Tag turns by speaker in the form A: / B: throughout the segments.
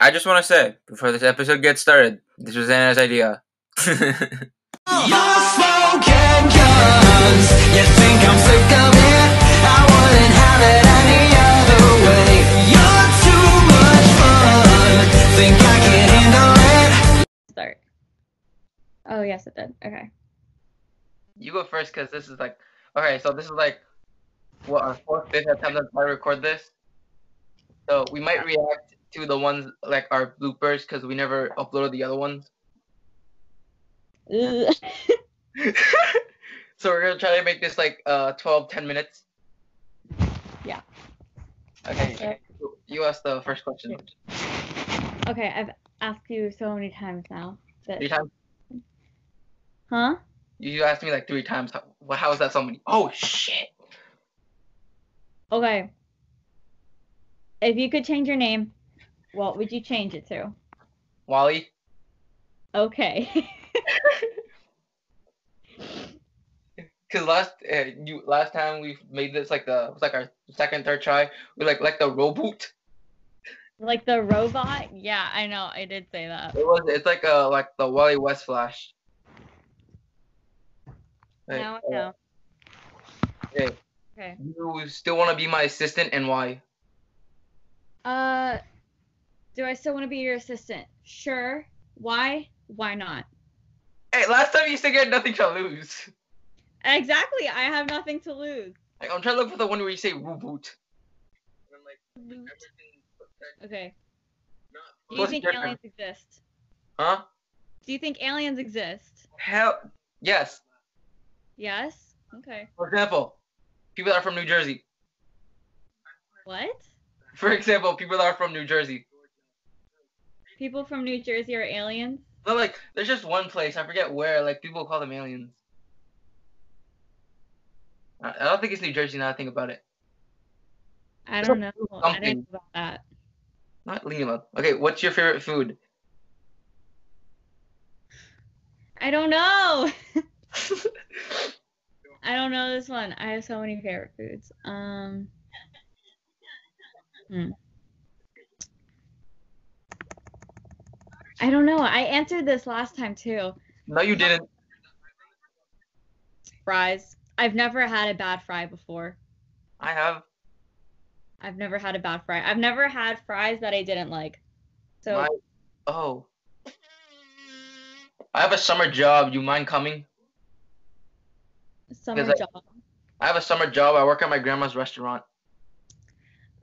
A: I just want to say before this episode gets started, this was Anna's idea.
B: You're smoking guns. You think I'm sick of it? I wouldn't have it any other way. You're too much fun. Think I can handle it?
C: Start. Oh yes, it did. Okay.
D: You go first because this is like, okay, so this is like, what our fourth, fifth attempt to try to record this. So we might react to the ones like our bloopers because we never uploaded the other ones.
C: Ugh.
D: so we're gonna try to make this like uh 12, 10 minutes.
C: Yeah.
D: Okay. you- You asked the first question.
C: okay, I've asked you so many times now. That,
D: Three times.
C: huh?
D: You asked me like three times. How, wha- how is that so many? Oh shit.
C: Okay. If you could change your name, what would you change it to?
D: Wally.
C: Okay.
D: Cause last uh, you last time we made this like the it was like our second third try we like like the rowboot
C: like the robot? Yeah, I know. I did say that.
D: It was. It's like a like the Wally West Flash. Like,
C: No,
D: uh,
C: no.
D: Okay.
C: Okay.
D: You still want to be my assistant and why?
C: Uh, do I still want to be your assistant? Sure. Why? Why not?
D: Hey, last time you said you had nothing to lose.
C: Exactly. I have nothing to lose.
D: Like, I'm trying to look for the one where you say reboot. And then, like, everything-
C: Okay. Do you
D: What's
C: think
D: different?
C: aliens exist?
D: Huh?
C: Do you think aliens exist?
D: Hell, yes.
C: Yes. Okay.
D: For example, people that are from New Jersey.
C: What?
D: For example, people that are from New Jersey.
C: People from New Jersey are aliens?
D: But like, there's just one place I forget where. Like, people call them aliens. I I don't think it's New Jersey now. I think about it.
C: I don't know. I
D: something.
C: didn't know about that.
D: Not Lima. Okay, what's your favorite food?
C: I don't know. I don't know this one. I have so many favorite foods. Um. hmm. I don't know. I answered this last time too.
D: No, you didn't.
C: Fries. I've never had a bad fry before.
D: I have.
C: I've never had a bad fry. I've never had fries that I didn't like. So
D: My- Oh. I have a summer job. You mind coming?
C: summer
D: Because
C: job.
D: I have a summer job. I work at my grandma's restaurant.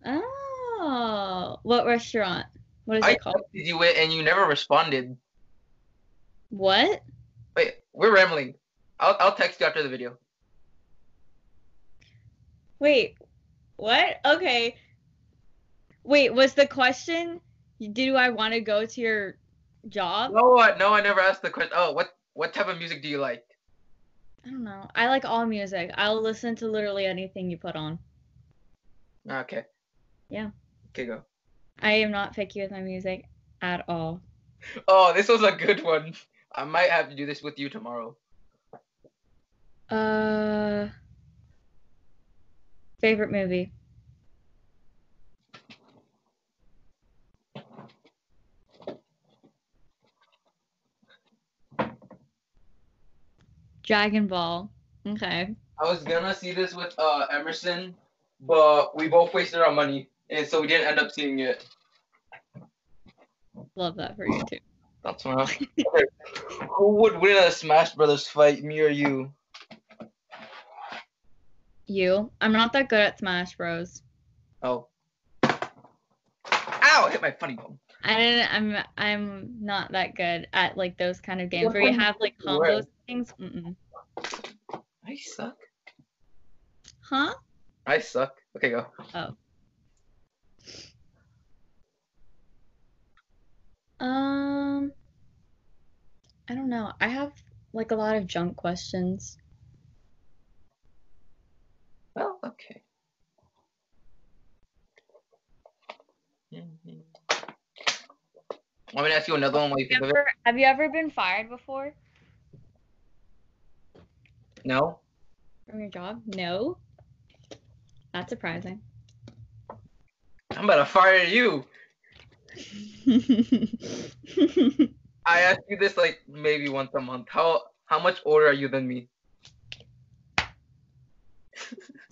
C: Oh, what restaurant? What is
D: I
C: it called?
D: texted you it and you never responded.
C: What?
D: Wait, we're rambling. I'll, I'll text you after the video.
C: Wait, what? Okay. Wait, was the question do I want to go to your job?
D: No, I, no, I never asked the question. Oh, what what type of music do you like?
C: I don't know. I like all music. I'll listen to literally anything you put on.
D: Okay.
C: Yeah.
D: Okay, go.
C: I am not picky with my music at all.
D: Oh, this was a good one. I might have to do this with you tomorrow.
C: Uh favorite movie. Dragon Ball. Okay.
D: I was gonna see this with uh Emerson, but we both wasted our money, and so we didn't end up seeing it.
C: Love that for you too.
D: That's why. Who would win a Smash Brothers fight, me or you?
C: You. I'm not that good at Smash Bros.
D: Oh. Ow! I hit my funny bone.
C: I didn't I'm I'm not that good at like those kind of games
D: What
C: where you
D: kind
C: have like
D: of word?
C: combos and things. Mm-mm.
D: I suck.
C: Huh?
D: I suck. Okay, go.
C: Um I don't know. I have like a lot of junk questions.
D: Well, okay. Want me to ask you another one while you think of it?
C: Ever- have you ever been fired before
D: No.
C: from your job? No. That's surprising.
D: I'm about to fire you. I ask you this like maybe once a month. How how much older are you than me?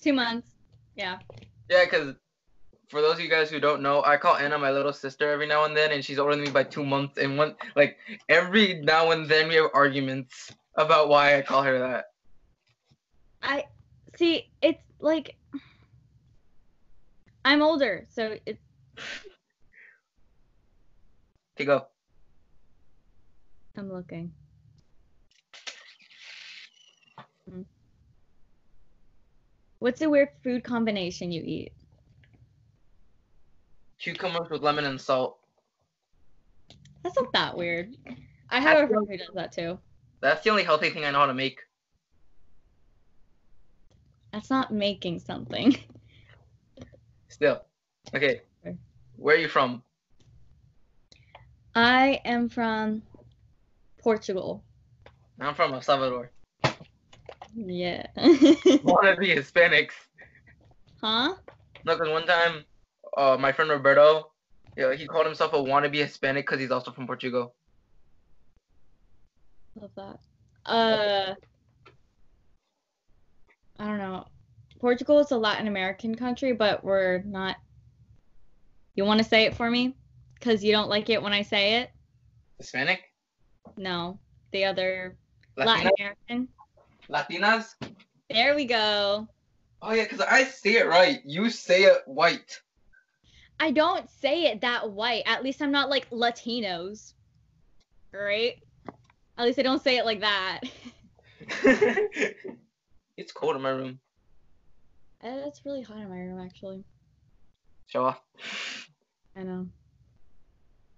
C: Two months. Yeah.
D: Yeah, because for those of you guys who don't know, I call Anna my little sister every now and then, and she's older than me by two months. And one like every now and then we have arguments about why I call her that.
C: I see. It's like I'm older, so it's
D: Okay, go.
C: I'm looking. Mm. What's a weird food combination you eat?
D: Cucumbers with lemon and salt.
C: That's not that weird. I have a friend who does that too.
D: That's the only healthy thing I know how to make.
C: That's not making something.
D: Still. Okay.
C: Okay.
D: Where are you from?
C: I am from Portugal.
D: I'm from El Salvador.
C: Yeah.
D: One of the Hispanics.
C: huh?
D: No, because one time, uh, my friend Roberto, yeah, he called himself a wannabe Hispanic because he's also from Portugal.
C: Love that. Uh, I don't know. Portugal is a Latin American country, but we're not. You want to say it for me? Because you don't like it when I say it?
D: Hispanic?
C: No. The other Latin
D: Latina-
C: American.
D: Latinas?
C: There we go.
D: Oh yeah, because I say it right. You say it white.
C: I don't say it that white. At least I'm not like Latinos. Right? At least I don't say it like that.
D: it's cold in my room.
C: Uh, It's really hot in my room, actually.
D: Show off.
C: I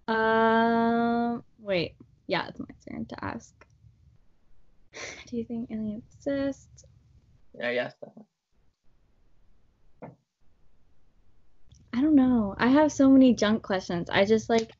C: know. Um, wait. Yeah, it's my turn to ask. Do you think aliens exist?
D: Yeah, yes.
C: I don't know. I have so many junk questions. I just like